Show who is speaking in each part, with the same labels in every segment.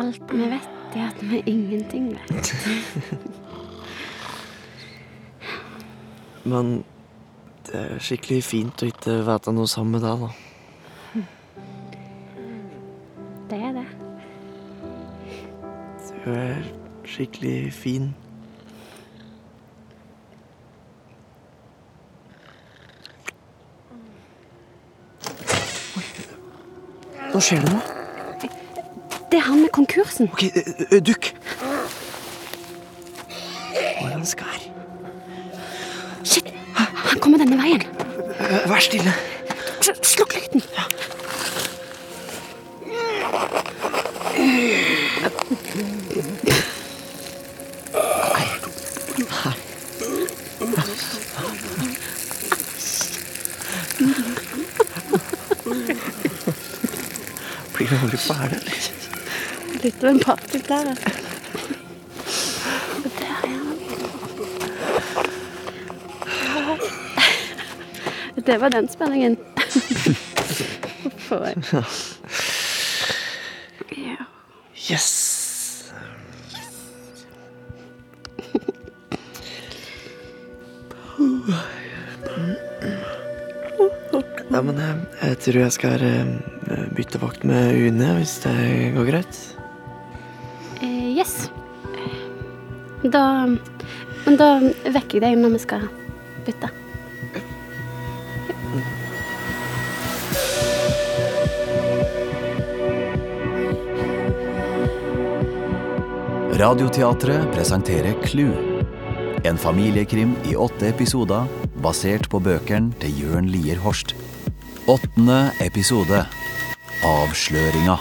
Speaker 1: Alt vi vet, er at vi ingenting vet.
Speaker 2: Men det er skikkelig fint å ikke vite noe sammen med deg, da.
Speaker 1: Det er det.
Speaker 2: Du er skikkelig fin. Oi. Nå skjer det noe.
Speaker 1: Det er han med konkursen.
Speaker 2: Ok, ø- ø- dukk. Hvor er han skar?
Speaker 1: Shit! Han kommer denne veien.
Speaker 2: Ø, Vær stille.
Speaker 1: Sl- Slukk lyden.
Speaker 2: Blir det aldri ferdig, eller?
Speaker 1: Litt av en partyplære. Og der er han. Det var den spenningen. For Ja.
Speaker 2: Yes. Nei, men jeg, jeg tror jeg skal eh, bytte vakt med Une, hvis det går greit.
Speaker 1: Eh, yes. Da Men da vekker jeg deg når vi skal bytte.
Speaker 3: Radioteatret presenterer Clou. En familiekrim i åtte episoder basert på bøkene til Jørn Lier Horst. Åttende episode Avsløringa.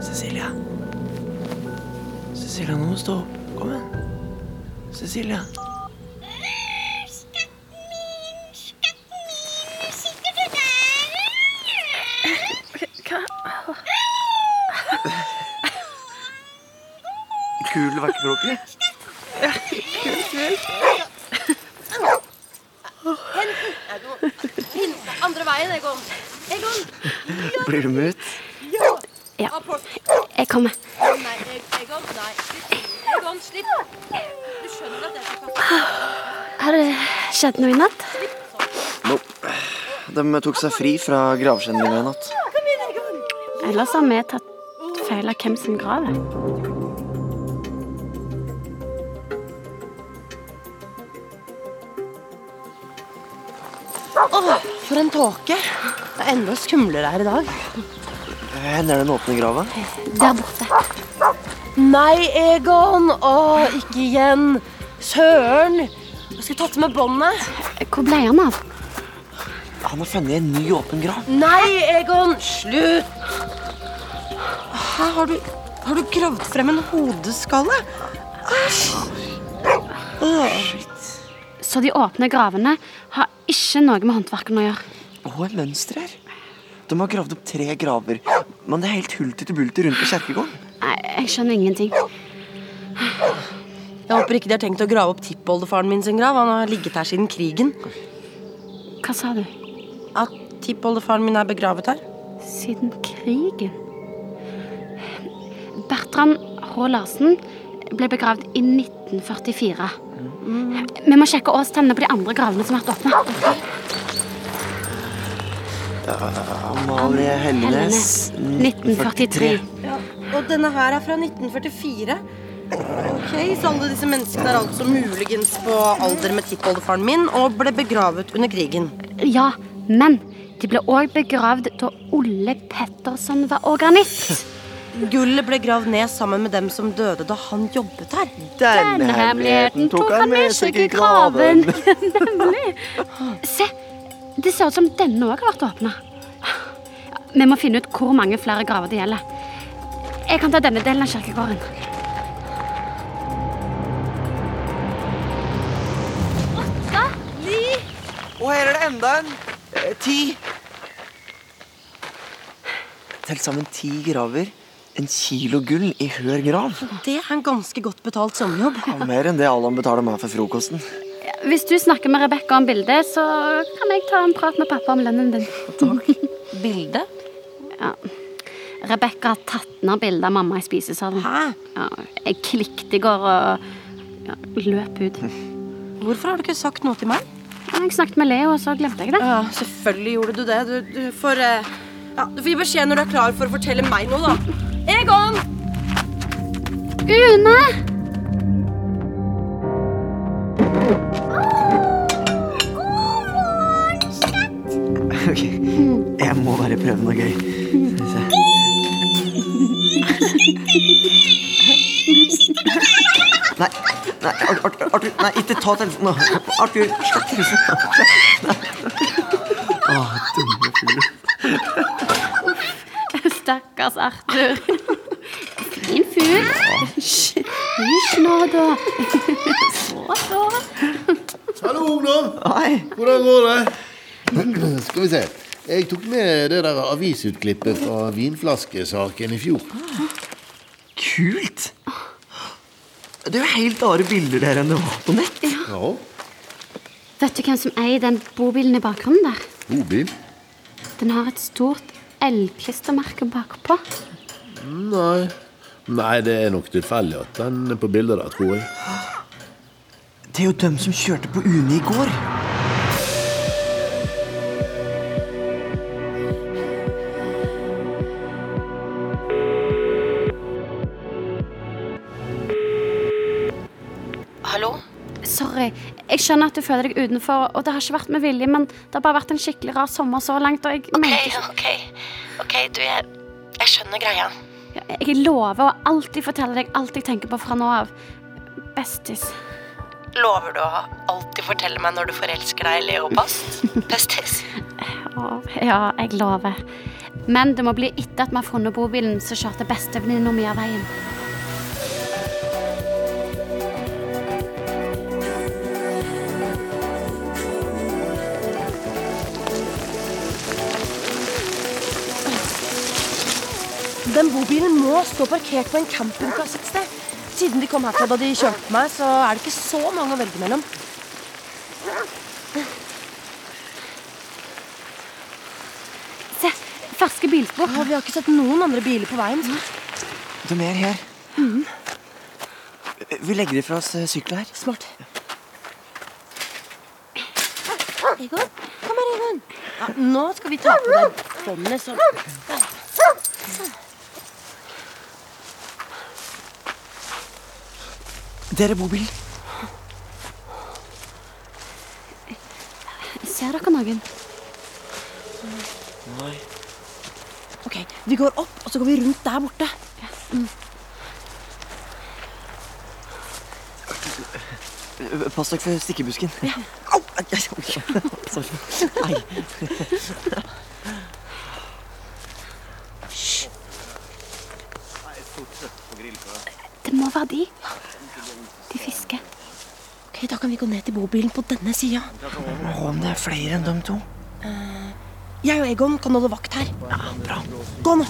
Speaker 2: Cecilia. Cecilia, nå må du stå opp. Kom igjen. Cecilia. Kul vekkerklokke.
Speaker 4: Andre veien, Egon. Egon!
Speaker 2: Blir du med ut?
Speaker 4: Ja.
Speaker 1: Ja,
Speaker 4: Aport.
Speaker 1: jeg kommer.
Speaker 4: Nei, E- Egon. Nei, slipp. Egon, slipp. Du skjønner at jeg skal passe
Speaker 1: Har det skjedd noe i natt?
Speaker 2: Nå. De tok seg fri fra gravskjendingen i natt.
Speaker 4: Kom inn, Egon.
Speaker 1: Ellers har vi tatt feil av hvem som graver.
Speaker 4: For en tåke. Det er enda skumlere her i dag.
Speaker 2: Hvor er den åpne grava?
Speaker 1: Der borte.
Speaker 4: Nei, Egon. Å, ikke igjen. Søren. Jeg skulle tatt med båndet.
Speaker 1: Hvor ble han av?
Speaker 2: Han har funnet en ny åpen grav.
Speaker 4: Nei, Egon. Slutt. Her har du, har du gravd frem en hodeskalle.
Speaker 2: Shit.
Speaker 1: Så de åpne gravene har ikke noe med håndverkene å gjøre.
Speaker 2: Og et mønster her. De har gravd opp tre graver, men det er helt hulter til bulter rundt på kjerkegården.
Speaker 1: Nei, jeg skjønner ingenting.
Speaker 4: Jeg håper ikke de har tenkt å grave opp tippoldefaren min sin grav. Han har ligget her siden krigen.
Speaker 1: Hva sa du?
Speaker 4: At tippoldefaren min er begravet her?
Speaker 1: Siden krigen? Bertrand H. Larsen ble begravd i 1944. Vi må sjekke årstallene på de andre gravene som har vært åpne.
Speaker 2: Amalie Hellenes,
Speaker 1: Hellenes, 1943.
Speaker 4: Ja, Og denne her er fra 1944. Ok, Så alle disse menneskene er altså muligens på alder med tippoldefaren min og ble begravet under krigen.
Speaker 1: Ja, men de ble òg begravd da Olle Petterson var organist.
Speaker 4: Gullet ble gravd ned sammen med dem som døde da han jobbet her.
Speaker 1: Den hemmeligheten tok han med seg i graven. Nemlig. Se, det ser ut som denne òg har vært åpna. Vi må finne ut hvor mange flere graver det gjelder. Jeg kan ta denne delen av kirkegården.
Speaker 4: Ni,
Speaker 2: Og her er det enda en. Eh, ti. Til sammen ti graver. En kilo gull i hver grav.
Speaker 4: Det er en ganske godt betalt sommerjobb.
Speaker 2: Ja, mer enn det Allan betaler meg for frokosten.
Speaker 1: Hvis du snakker med Rebekka om bildet, så kan jeg ta en prat med pappa om lønnen din.
Speaker 4: Bilde?
Speaker 1: Ja. Rebekka har tatt ned bildet av mamma i spisesalen.
Speaker 4: Hæ?
Speaker 1: Ja, jeg klikket i går og ja, løp ut.
Speaker 4: Hvorfor har du ikke sagt noe til meg?
Speaker 1: Jeg snakket med Leo, og så glemte jeg det.
Speaker 4: Ja, selvfølgelig gjorde du det. Du, du får eh, ja, Du får gi beskjed når du er klar for å fortelle meg noe, da. Egon!
Speaker 1: Une!
Speaker 2: Ok, Jeg må bare prøve noe gøy. Skal vi se. Nei, nei, Ar- Ar- Arthur, nei, ikke ta telefonen. nå. Arthur, slett telefonen.
Speaker 1: Stakkars Arthur. Fin fugl. Hysj hysj nå, da. Så, så.
Speaker 5: Hallo, ungdom!
Speaker 2: Nei.
Speaker 5: Hvordan går det? Skal vi se. Jeg tok med det der avisutklippet fra vinflaskesaken i fjor.
Speaker 2: Kult! Det er jo helt andre bilder der enn det var på nett.
Speaker 5: Ja,
Speaker 1: Vet du hvem som eier den bobilen i bakgrunnen der?
Speaker 5: bobil?
Speaker 1: Den har et stort elgklistremerke bakpå.
Speaker 5: Nei. Nei, det er nok tilfeldig at den er på bildet der, tror jeg.
Speaker 2: Det er jo dem som kjørte på Uni i går.
Speaker 4: Hallo?
Speaker 1: Sorry. Jeg skjønner at du føler deg utenfor, og det har ikke vært med vilje, men det har bare vært en skikkelig rar sommer så langt, og jeg mente ikke
Speaker 4: OK. Ok, du, jeg, jeg skjønner greia.
Speaker 1: Jeg lover å alltid fortelle deg alt jeg tenker på fra nå av. Bestis.
Speaker 4: Lover du å alltid fortelle meg når du forelsker deg i Leopast? Pestis.
Speaker 1: Å, Ja, jeg lover. Men det må bli etter at vi har funnet bobilen, så kjørte bestevenninna mi av veien.
Speaker 6: Den bobilen må stå parkert på en campingplass et sted. Siden de kom herfra da de kjørte meg, så er det ikke så mange å velge mellom.
Speaker 1: Se, ferske bilspor.
Speaker 6: Ja, vi har ikke sett noen andre biler på veien.
Speaker 2: De er her. Vi legger ifra oss eh, sykler her.
Speaker 6: Smart. Egon, kom her, Egon. Ja, nå skal vi ta på deg båndet. Så...
Speaker 2: Der er bobilen.
Speaker 1: Ser dere noen?
Speaker 6: Ok, vi går opp, og så går vi rundt der borte.
Speaker 2: Eh, Pass dere for stikkebusken. Au! Ai, ai, oi. Sorry. Ai.
Speaker 1: Det må være de. De fisker.
Speaker 6: Ok, Da kan vi gå ned til bobilen på denne sida.
Speaker 2: Å, om det er flere enn de to.
Speaker 6: Jeg og Egon kan holde vakt her. Ja, bra. Gå nå.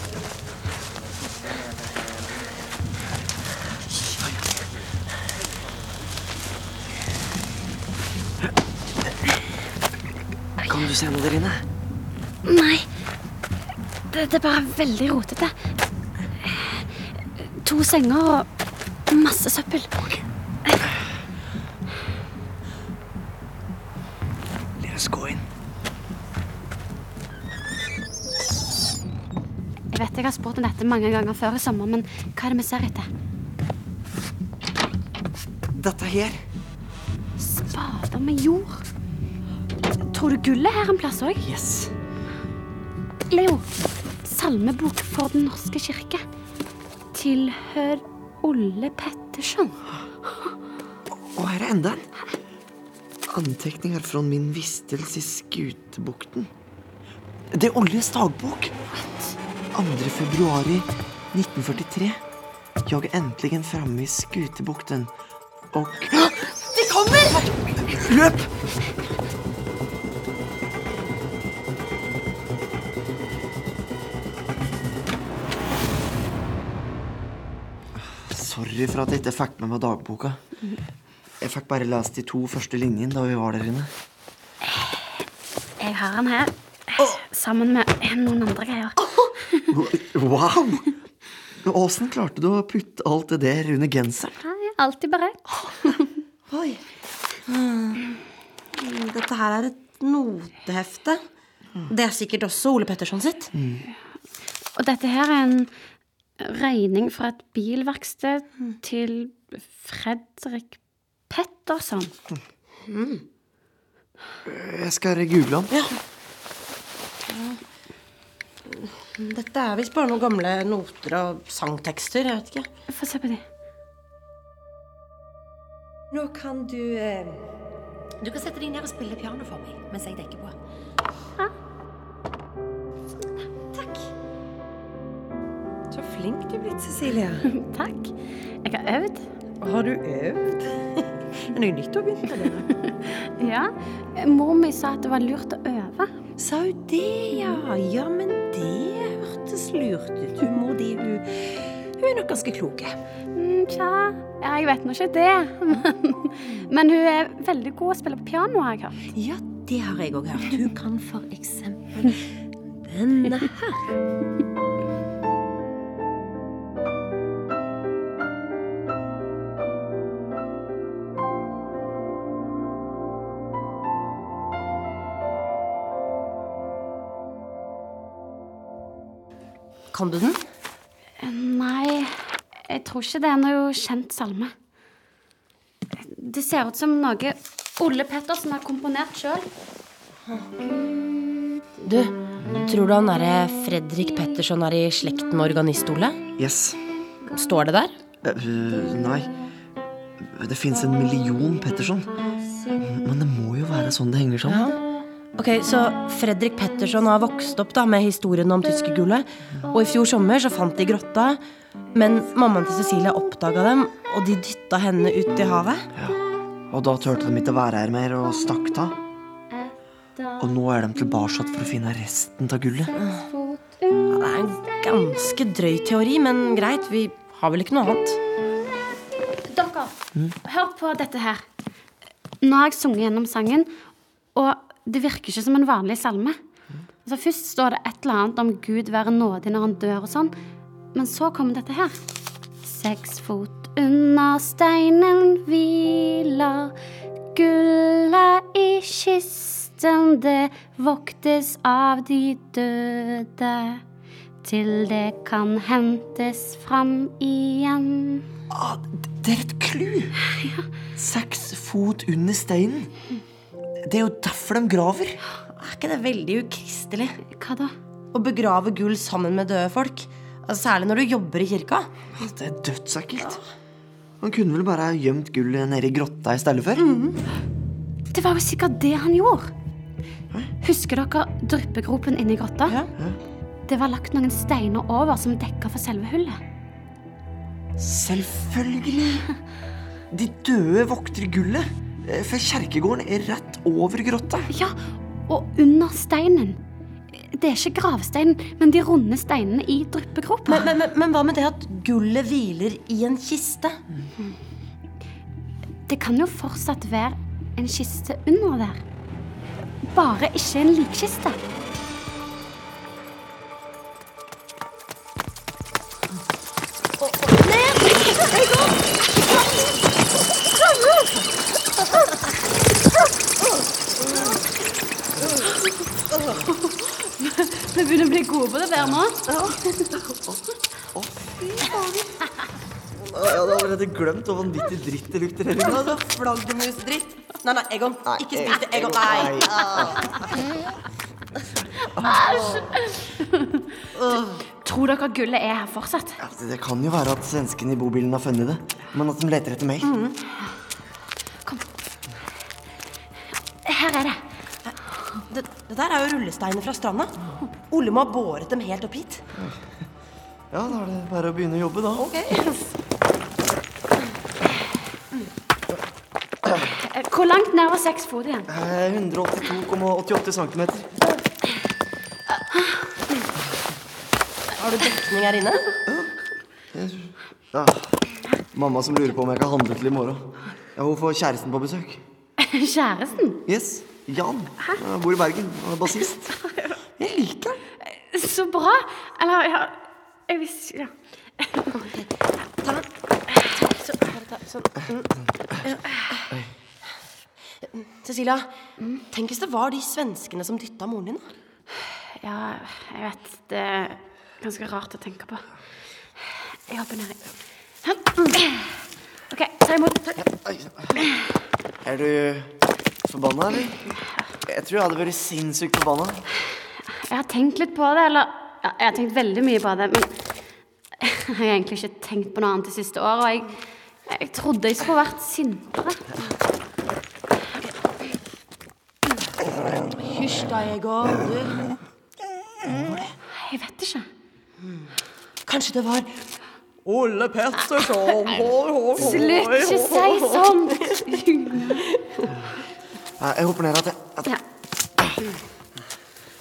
Speaker 2: Kan du se noe der inne?
Speaker 1: Nei, det, det er bare veldig rotete. To senger og masse søppel.
Speaker 2: La oss gå inn.
Speaker 1: Jeg vet jeg har spurt om dette mange ganger før i sommer, men hva er det vi ser etter?
Speaker 2: Dette her.
Speaker 1: Spader med jord. Tror du gullet er her en plass òg?
Speaker 2: Yes.
Speaker 1: Leo, salmebok for Den norske kirke. Tilhør Olle Petterson.
Speaker 2: Og her er enda en. Antekninger fra min vistelse i Skutebukten. Det er Oljes dagbok. 2. februar i 1943. Jeg er endelig framme i Skutebukten, og De kommer! Løp! sorry for at jeg ikke fikk med meg dagboka. Jeg fikk bare lest de to første linjene da vi var der inne.
Speaker 1: Jeg har den her. Sammen med noen andre greier.
Speaker 2: Wow! Åssen klarte du å putte alt det der under genseren?
Speaker 1: Nei, alltid beredt.
Speaker 4: Oi. Mm, Dette her er et notehefte. Det er sikkert også Ole Petterson sitt.
Speaker 1: Og dette her er en regning fra et bilverksted til Fredrik Petterson.
Speaker 2: Jeg skal google den.
Speaker 4: Mm. Dette er visst bare noen gamle noter og sangtekster. jeg vet ikke.
Speaker 1: Få se på de.
Speaker 7: Nå kan du eh, Du kan sette deg ned og spille piano for meg mens jeg dekker på. Takk. Så flink du er blitt, Cecilia.
Speaker 1: Takk. Jeg har øvd.
Speaker 7: Har du øvd? Er det nytt å begynne med det?
Speaker 1: Ja. Mor mi sa at det var lurt å øve.
Speaker 7: Sa hun det, ja? Ja, men det hørtes lurt ut. Hun mor di, hun, hun er nok ganske klok.
Speaker 1: Mm, Tja, ja, jeg vet nå ikke det. Men, men hun er veldig god å spille på piano, har jeg hørt.
Speaker 7: Ja, det har jeg òg hørt. Hun kan for eksempel denne her.
Speaker 4: Kan du den?
Speaker 1: Nei, jeg tror ikke det er noe kjent salme. Det ser ut som noe Ole Pettersen har komponert sjøl.
Speaker 4: Du, tror du han derre Fredrik Petterson er i slekt med organist Ole?
Speaker 2: Yes.
Speaker 4: Står det der?
Speaker 2: Eh, øh, nei. Det fins en million Petterson. Men det må jo være sånn det henger sammen.
Speaker 4: Ok, Så Fredrik Petterson har vokst opp da med historien om tyskergullet. Og i fjor sommer så fant de grotta. Men mammaen til Cecilia oppdaga dem, og de dytta henne ut i havet.
Speaker 2: Og da turte de ikke å være her mer og stakk av. Og nå er de tilbake for å finne resten av gullet.
Speaker 4: Ja, det er en ganske drøy teori, men greit. Vi har vel ikke noe annet.
Speaker 1: Dere, hør på dette her. Nå har jeg sunget gjennom sangen, og det virker ikke som en vanlig salme. Altså, først står det et eller annet om Gud være nådig når han dør og sånn, men så kommer dette her. Seks fot under steinen hviler, gullet i kisten, det voktes av de døde. Til det kan hentes fram igjen.
Speaker 2: Ah, det er et clou! Seks fot under steinen. Det er jo derfor de graver.
Speaker 4: Er ikke det veldig ukristelig
Speaker 1: Hva da?
Speaker 4: å begrave gull sammen med døde folk? Altså, Særlig når du jobber i kirka.
Speaker 2: Ah, Det er dødsekkelt. Han kunne vel bare ha gjemt gullet nede i grotta i stedet for?
Speaker 1: Det var jo sikkert det han gjorde. Husker dere dryppegropen inni grotta?
Speaker 4: Ja.
Speaker 1: Det var lagt noen steiner over som dekka for selve hullet.
Speaker 2: Selvfølgelig! De døde vokter gullet. eh, For kjerkegården er rett over grotta.
Speaker 1: Ja, Og under steinen. Det er ikke gravsteinen, men de runde steinene i dryppegropa.
Speaker 4: Men, men, men, men hva med det at gullet hviler i en kiste?
Speaker 1: Det kan jo fortsatt være en kiste under der. Bare ikke en likkiste. Vi begynner å bli gode på det der nå.
Speaker 2: Jeg hadde allerede glemt hvor vanvittig dritt det lukter her inne.
Speaker 4: Altså, Flaggermusdritt. Nei, nei, Egon. Ikke spis det. Egon, nei.
Speaker 1: Tror dere gullet er her fortsatt?
Speaker 2: Ja, altså, det- Det kan jo være at svenskene i bobilen har funnet det, men at de leter etter meg.
Speaker 1: Her er det.
Speaker 4: Det, det der er jo rullesteiner fra stranda. Ole må ha båret dem helt opp hit.
Speaker 2: Ja, da er det bare å begynne å jobbe, da.
Speaker 1: Eh, Hvor langt ned var seks fot igjen?
Speaker 2: Eh, 182,88 cm.
Speaker 4: Har du dekning her inne?
Speaker 2: Ja. Mamma som lurer på om jeg kan handle til i morgen. Ja, Hun får kjæresten på besøk.
Speaker 1: Kjæresten?
Speaker 2: Yes, Jan. Han bor i Bergen. Han er bassist. Jeg liker han.
Speaker 1: Så bra! Eller, ja Jeg visste ja.
Speaker 4: mm. Cecilia, tenk hvis det var de svenskene som dytta moren din, da.
Speaker 1: ja, jeg vet Det er ganske rart å tenke på. Jeg hopper nedi. OK, ta imot. Ta.
Speaker 2: Oi. Er du forbanna, eller? Jeg tror jeg hadde vært sinnssykt forbanna.
Speaker 1: Jeg har tenkt litt på det, eller ja, Jeg har tenkt veldig mye på det, men jeg har egentlig ikke tenkt på noe annet det siste året, og jeg, jeg trodde jeg skulle vært sintere.
Speaker 6: Hysj da, Egor. Du,
Speaker 1: Jeg vet ikke.
Speaker 6: kanskje det var
Speaker 8: Olle Pettersson, hår, hår, hår.
Speaker 1: Slutt, ikke si sånt!
Speaker 2: Nei, Jeg hopper ned at jeg, at
Speaker 1: Ja.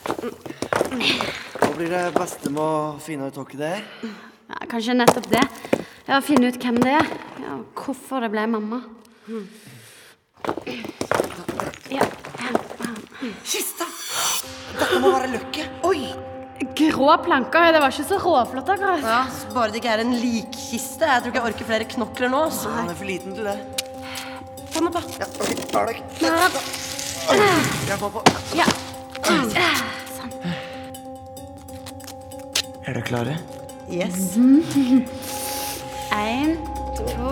Speaker 2: Hva blir det beste med å finne ut hvem det er?
Speaker 1: Ja, kanskje nettopp det. Ja, Finne ut hvem det er. Ja, og hvorfor det ble mamma. Ja.
Speaker 2: Kista! Dette må være Løkke.
Speaker 1: Grå planker, ja, det var ikke så råflott akkurat.
Speaker 4: Ja, så Bare det ikke er en likkiste. Jeg tror ikke jeg orker flere knokler nå. Så.
Speaker 2: Han er for liten til det.
Speaker 4: Få den opp, da.
Speaker 2: Ja, ok, ta deg. Jeg går på.
Speaker 1: Ja.
Speaker 2: Er dere klare?
Speaker 1: Én, to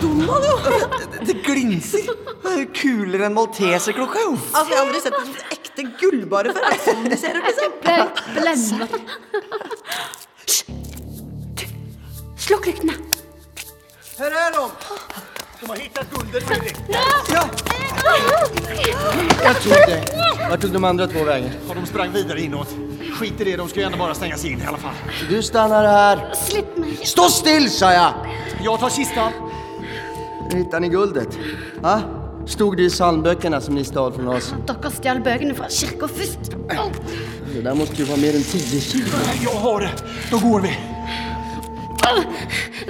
Speaker 2: Det, det glinser. Det er jo kulere enn malteserklokka, jo.
Speaker 8: Altså, jeg har aldri sett et sånt ekte gullbare før. Er det sånn de ser ut, liksom?
Speaker 1: Blende. Slukk lyktene.
Speaker 8: Hør her, Rom. De har hittat guldet, Fredrik. Jag tog dig. Vart tog de andra två vägen? Ja, de sprang vidare inåt. Skit i det, de skulle ändå bara stängas in i alla fall. Du stannar här.
Speaker 1: Slipp meg.
Speaker 8: Stå still, sa jag! Jag tar kistan. Hittar ni guldet? Ja? Stod det i psalmböckerna som ni stal från oss?
Speaker 1: Sånn, Dere stjal bøkene fra kirka først.
Speaker 8: Det där måste ju vara mer än 10 kilo. Jag har det. Då går vi.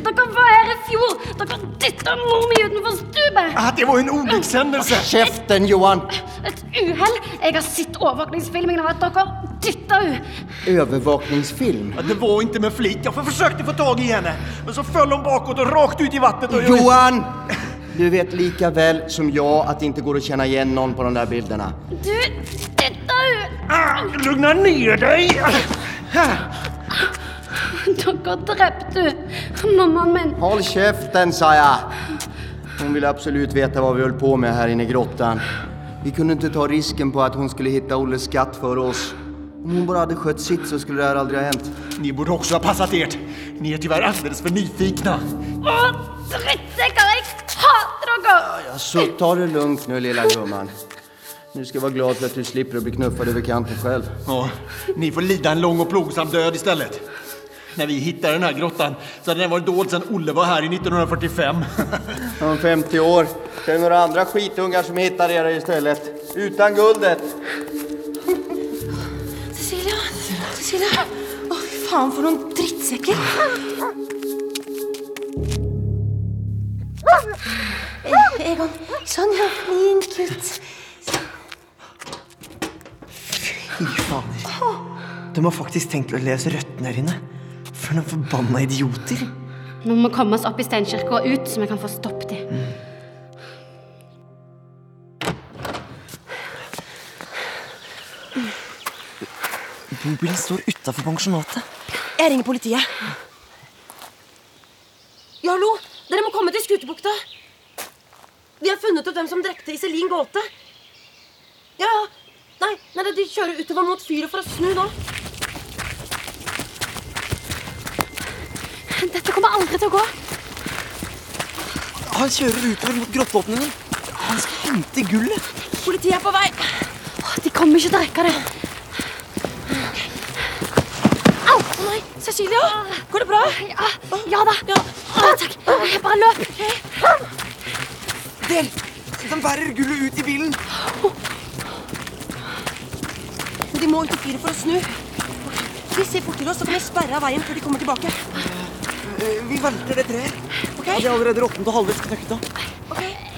Speaker 1: Dere var her i fjor. Dere dytta mor mi utenfor stupet.
Speaker 8: Ah, det var en olyckshändelse. Käften, Johan.
Speaker 1: Et uhell. Jeg har sett overvåkningsfilmingen av at dere dytta henne.
Speaker 8: Övervakningsfilm.
Speaker 9: Det var inte med flit. Jag försökte få tag i henne. Men så föll hon bakåt och rakt ut i vattnet. Och jag...
Speaker 8: Johan! Du vet lika väl som jag att det inte går att känna igen någon på de där bilderna.
Speaker 1: Du dytta henne.
Speaker 9: Ah, Lugna ner dig! Ah.
Speaker 1: Dere drepte henne. Mammaen min.
Speaker 8: Håll käften, sa jag! Hon ville absolut veta vad vi höll på med här inne i grottan. Vi kunde inte ta risken på att hon skulle hitta Olles skatt för oss. Om hon bara hade skött sitt så skulle det här aldrig ha hänt.
Speaker 9: Ni borde också ha passat ert. Ni är tyvärr alldeles för nyfikna.
Speaker 1: Å, drittsekker. Jeg hater dere.
Speaker 8: Så ta det lugnt nu, lilla gumman. Nu ska jag vara glad för att du slipper att bli knuffad över kanten själv.
Speaker 9: Ja, ni får lida en lång och plågsam död istället. När vi hittade den här grottan så hade den varit dold sedan Olle var här i 1945.
Speaker 8: Om 50 år så är det några andra skitungar som hittar er istället. Utan guldet.
Speaker 4: Cecilia! Cecilia! Å, fy faen, for noen drittsekker! Eh, Egon. Sånn, ja. Flink gutt.
Speaker 2: Fy fader. De har faktisk tenkt å lese røttene her inne. For noen forbanna idioter.
Speaker 1: Nå må vi komme oss opp i steinkirka og ut, så vi kan få stoppet dem.
Speaker 10: Mm.
Speaker 2: Bobilen står utafor pensjonatet.
Speaker 6: Jeg ringer politiet. Ja, hallo! Dere må komme til Skutebukta. Vi har funnet ut hvem som drepte Iselin Gåte. Ja, ja. Nei, nei, de kjører utover mot fyret for å snu nå.
Speaker 1: Dette kommer aldri til å gå.
Speaker 2: Han kjører utover mot grotteåpningen. Han skal hente gullet.
Speaker 6: Politiet er på vei.
Speaker 1: Å, De kommer ikke til å rekke det.
Speaker 6: Au! Å nei, Cecilia! Går det bra?
Speaker 1: Ja, ja da. Å, takk. Jeg bare løp.
Speaker 2: Del! De bærer gullet ut i bilen.
Speaker 6: De må ut til fyret for å snu.
Speaker 11: Vi ser fort til oss, så kan vi sperre av veien før de kommer tilbake.
Speaker 2: Eh, Vi velter det treet.
Speaker 11: Ok?
Speaker 2: Det er allerede råttent og halvveis knøkt av.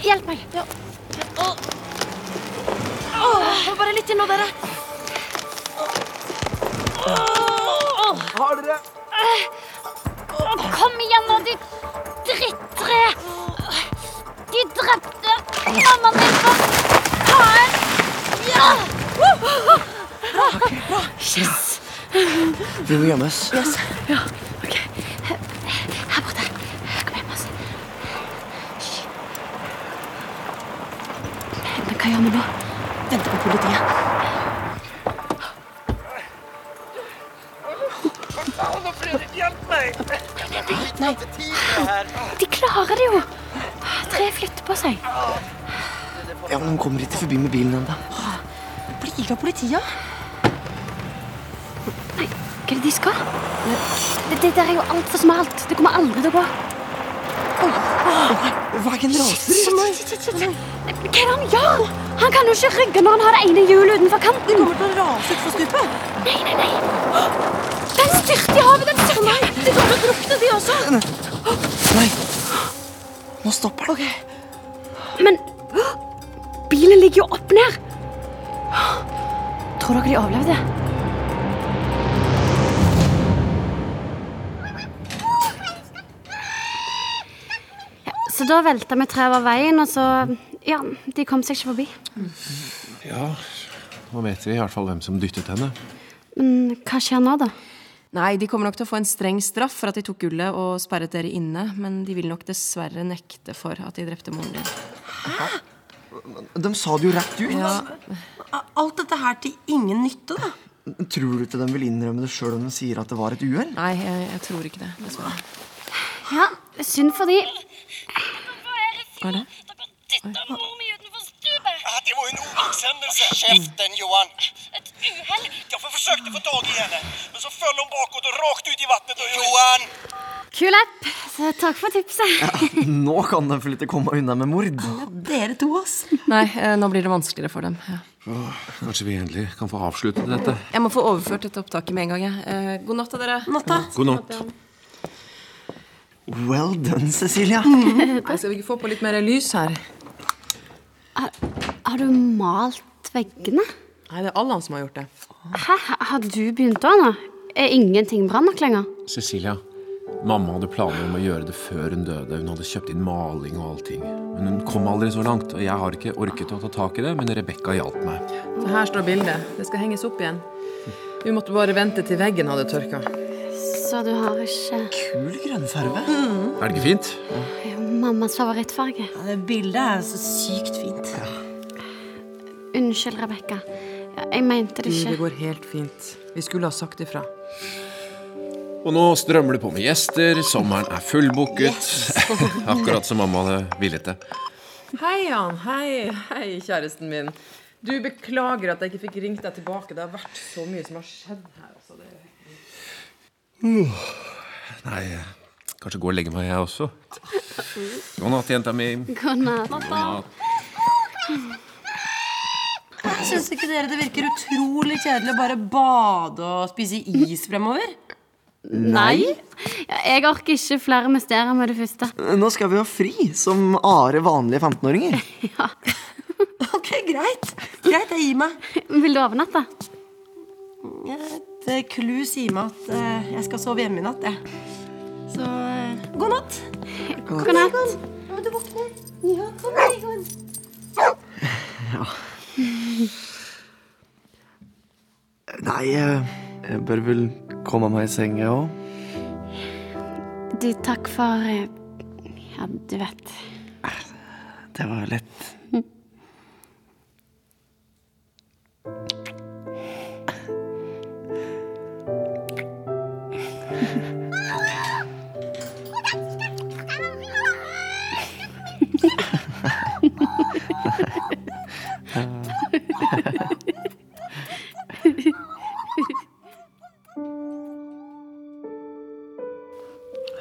Speaker 1: Hjelp meg.
Speaker 10: Åh, bare litt til nå, dere.
Speaker 2: Har dere
Speaker 1: Kom igjen nå, ditt drittre. De drepte mammaen min for faen. Ja!
Speaker 2: Vi må gjemme oss.
Speaker 1: Ok, her borte. Kom igjen, Mads. Hysj. Men hva gjør vi nå?
Speaker 12: Venter på politiet.
Speaker 1: De klarer det jo. Treet flytter på seg.
Speaker 2: Ja, men De kommer ikke forbi med bilen ennå.
Speaker 12: Blir av politiet?
Speaker 1: Nei, hva er det de skal? Det, det der er jo altfor smalt. Det kommer aldri til å gå.
Speaker 2: Veien raser.
Speaker 1: Shit, shit, shit, shit. Hva er det han gjør? Han kan jo ikke rygge når han har det ene hjulet utenfor kanten.
Speaker 12: Kommer til å rase utfor stupet.
Speaker 1: Nei, nei, nei. Den styrter i havet, den styrter. Nei, de kommer til å drukne, de også.
Speaker 2: Nei. Nå stopper den.
Speaker 1: Men bilen ligger jo opp ned. Tror dere de overlevde? Ja, Så da velta vi treet over veien, og så Ja, de kom seg ikke forbi.
Speaker 5: Ja, nå vet vi i hvert fall hvem som dyttet henne.
Speaker 1: Men hva skjer nå, da?
Speaker 4: Nei, de kommer nok til å få en streng straff for at de tok gullet og sperret dere inne, men de vil nok dessverre nekte for at de drepte moren din.
Speaker 2: De sa det jo rett ut.
Speaker 12: Alt dette her til ingen nytte, da.
Speaker 2: Tror du ikke de vil innrømme det sjøl om de sier at det var et uhell?
Speaker 4: Nei, jeg, jeg tror ikke det, dessverre.
Speaker 1: Ja, synd for de.
Speaker 4: Hva er det?
Speaker 13: Det var en olyckshändelse. Käften Johan! Ett uhell. Jag försökte få tag i henne, men så föll hon bakåt och rakt ut i vattnet. Johan!
Speaker 1: Kul app. Så takk for tipset.
Speaker 2: Nå kan de vel ikke komme unna med mord.
Speaker 12: Dere to, ass.
Speaker 4: Nei, eh, nå blir det vanskeligere for dem. Ja.
Speaker 5: Kanskje vi endelig kan få avsluttet dette.
Speaker 4: Jeg må få overført dette opptaket med en gang. Jeg. Eh, god natt, da, dere.
Speaker 12: Natta.
Speaker 5: God natt.
Speaker 2: Well done, Cecilia.
Speaker 4: Nei, skal vi ikke få på litt mer lys her?
Speaker 1: Har du malt veggene?
Speaker 4: Nei, det er Allan som har gjort det.
Speaker 1: Hæ, har du begynt da nå? Er ingenting bra nok lenger?
Speaker 5: Cecilia, mamma hadde planer om å gjøre det før hun døde. Hun hadde kjøpt inn maling og allting. Men hun kom aldri så langt, og jeg har ikke orket å ta tak i det, men Rebekka hjalp meg.
Speaker 4: Så her står bildet. Det skal henges opp igjen. Vi måtte bare vente til veggen hadde tørka.
Speaker 1: Så du har ikke
Speaker 2: Kul grønnfarge.
Speaker 5: Er det ikke fint?
Speaker 1: jo, mammas favorittfarge?
Speaker 12: Ja, det bildet er så sykt fint.
Speaker 1: Unnskyld, Rebekka. Ja, jeg mente det ikke.
Speaker 4: går helt fint. Vi skulle ha sagt ifra.
Speaker 5: Og nå strømmer det på med gjester. Sommeren er fullbooket. Akkurat som mamma hadde villet det.
Speaker 4: Hei, Jan. Hei, hei, kjæresten min. Du beklager at jeg ikke fikk ringt deg tilbake. Det har vært så mye som har skjedd her. Altså. Det...
Speaker 5: Nei, kanskje gå og legge meg, jeg også. God natt, jenta mi.
Speaker 1: God natt.
Speaker 12: Syns ikke dere det virker utrolig kjedelig å bare bade og spise is fremover?
Speaker 1: Nei? Ja, jeg orker ikke flere mysterier med det første.
Speaker 2: Nå skal vi ha fri, som are vanlige 15-åringer.
Speaker 12: Ok, greit. Greit, jeg gir meg.
Speaker 1: Vil du overnatte?
Speaker 12: Et eh, clou sier meg at eh, jeg skal sove hjemme i natt, jeg. Så eh, god natt.
Speaker 1: God natt.
Speaker 2: Nei, eh, jeg bør vel komme meg i seng, jeg òg.
Speaker 1: Du, takk for eh, Ja, du vet.
Speaker 2: Det var lett.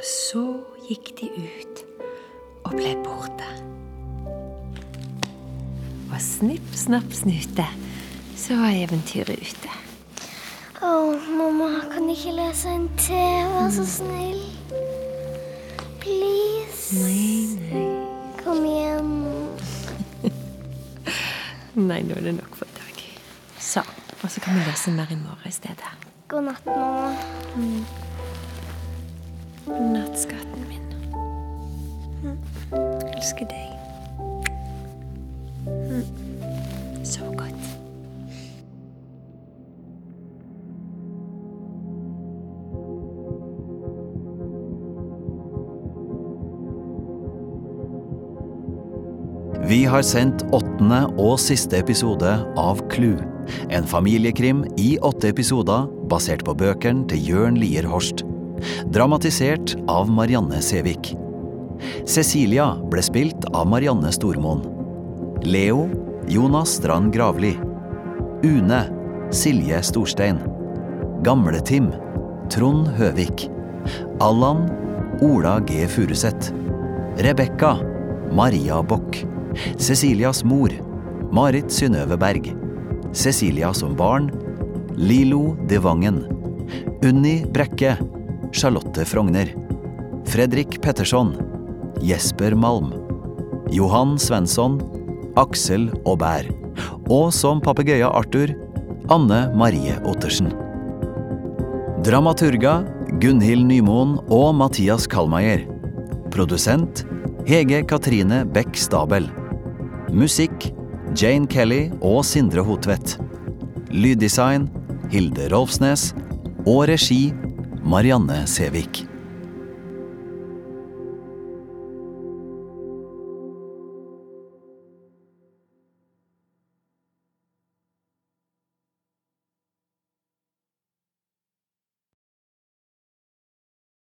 Speaker 11: Så gikk de ut og ble borte. Og snipp, snapp, snute, så var eventyret ute.
Speaker 13: Å, mamma, kan du ikke lese en til? Vær så snill. Please. Kom igjen.
Speaker 7: Nei, nå er det nok for i dag. Så,
Speaker 12: Sånn.
Speaker 7: og så kan vi lese mer i morgen i stedet.
Speaker 13: God natt, mamma.
Speaker 7: Natt, skatten min. Elsker deg. Så godt.
Speaker 3: Vi har sendt åttende og siste episode av Clue. En familiekrim i åtte episoder basert på bøkene til Jørn Lier Horst. Dramatisert av Marianne Sævik. Cecilia ble spilt av Marianne Stormoen. Leo Jonas Strand Gravli. Une Silje Storstein. Gamle-Tim Trond Høvik. Allan Ola G. Furuseth. Rebekka Maria Bock. Cecilias mor, Marit Synnøve Berg. Cecilia som barn, Lilo de Vangen. Unni Brekke, Charlotte Frogner. Fredrik Petterson, Jesper Malm. Johan Svensson, Aksel Aubert. Og som papegøyen Arthur, Anne Marie Ottersen. Dramaturga Gunhild Nymoen og Mathias Kallmeier. Produsent Hege Katrine Beck Stabel. Musikk Jane Kelly og Sindre Hotvedt. Lyddesign Hilde Rolfsnes. Og regi Marianne Sævik.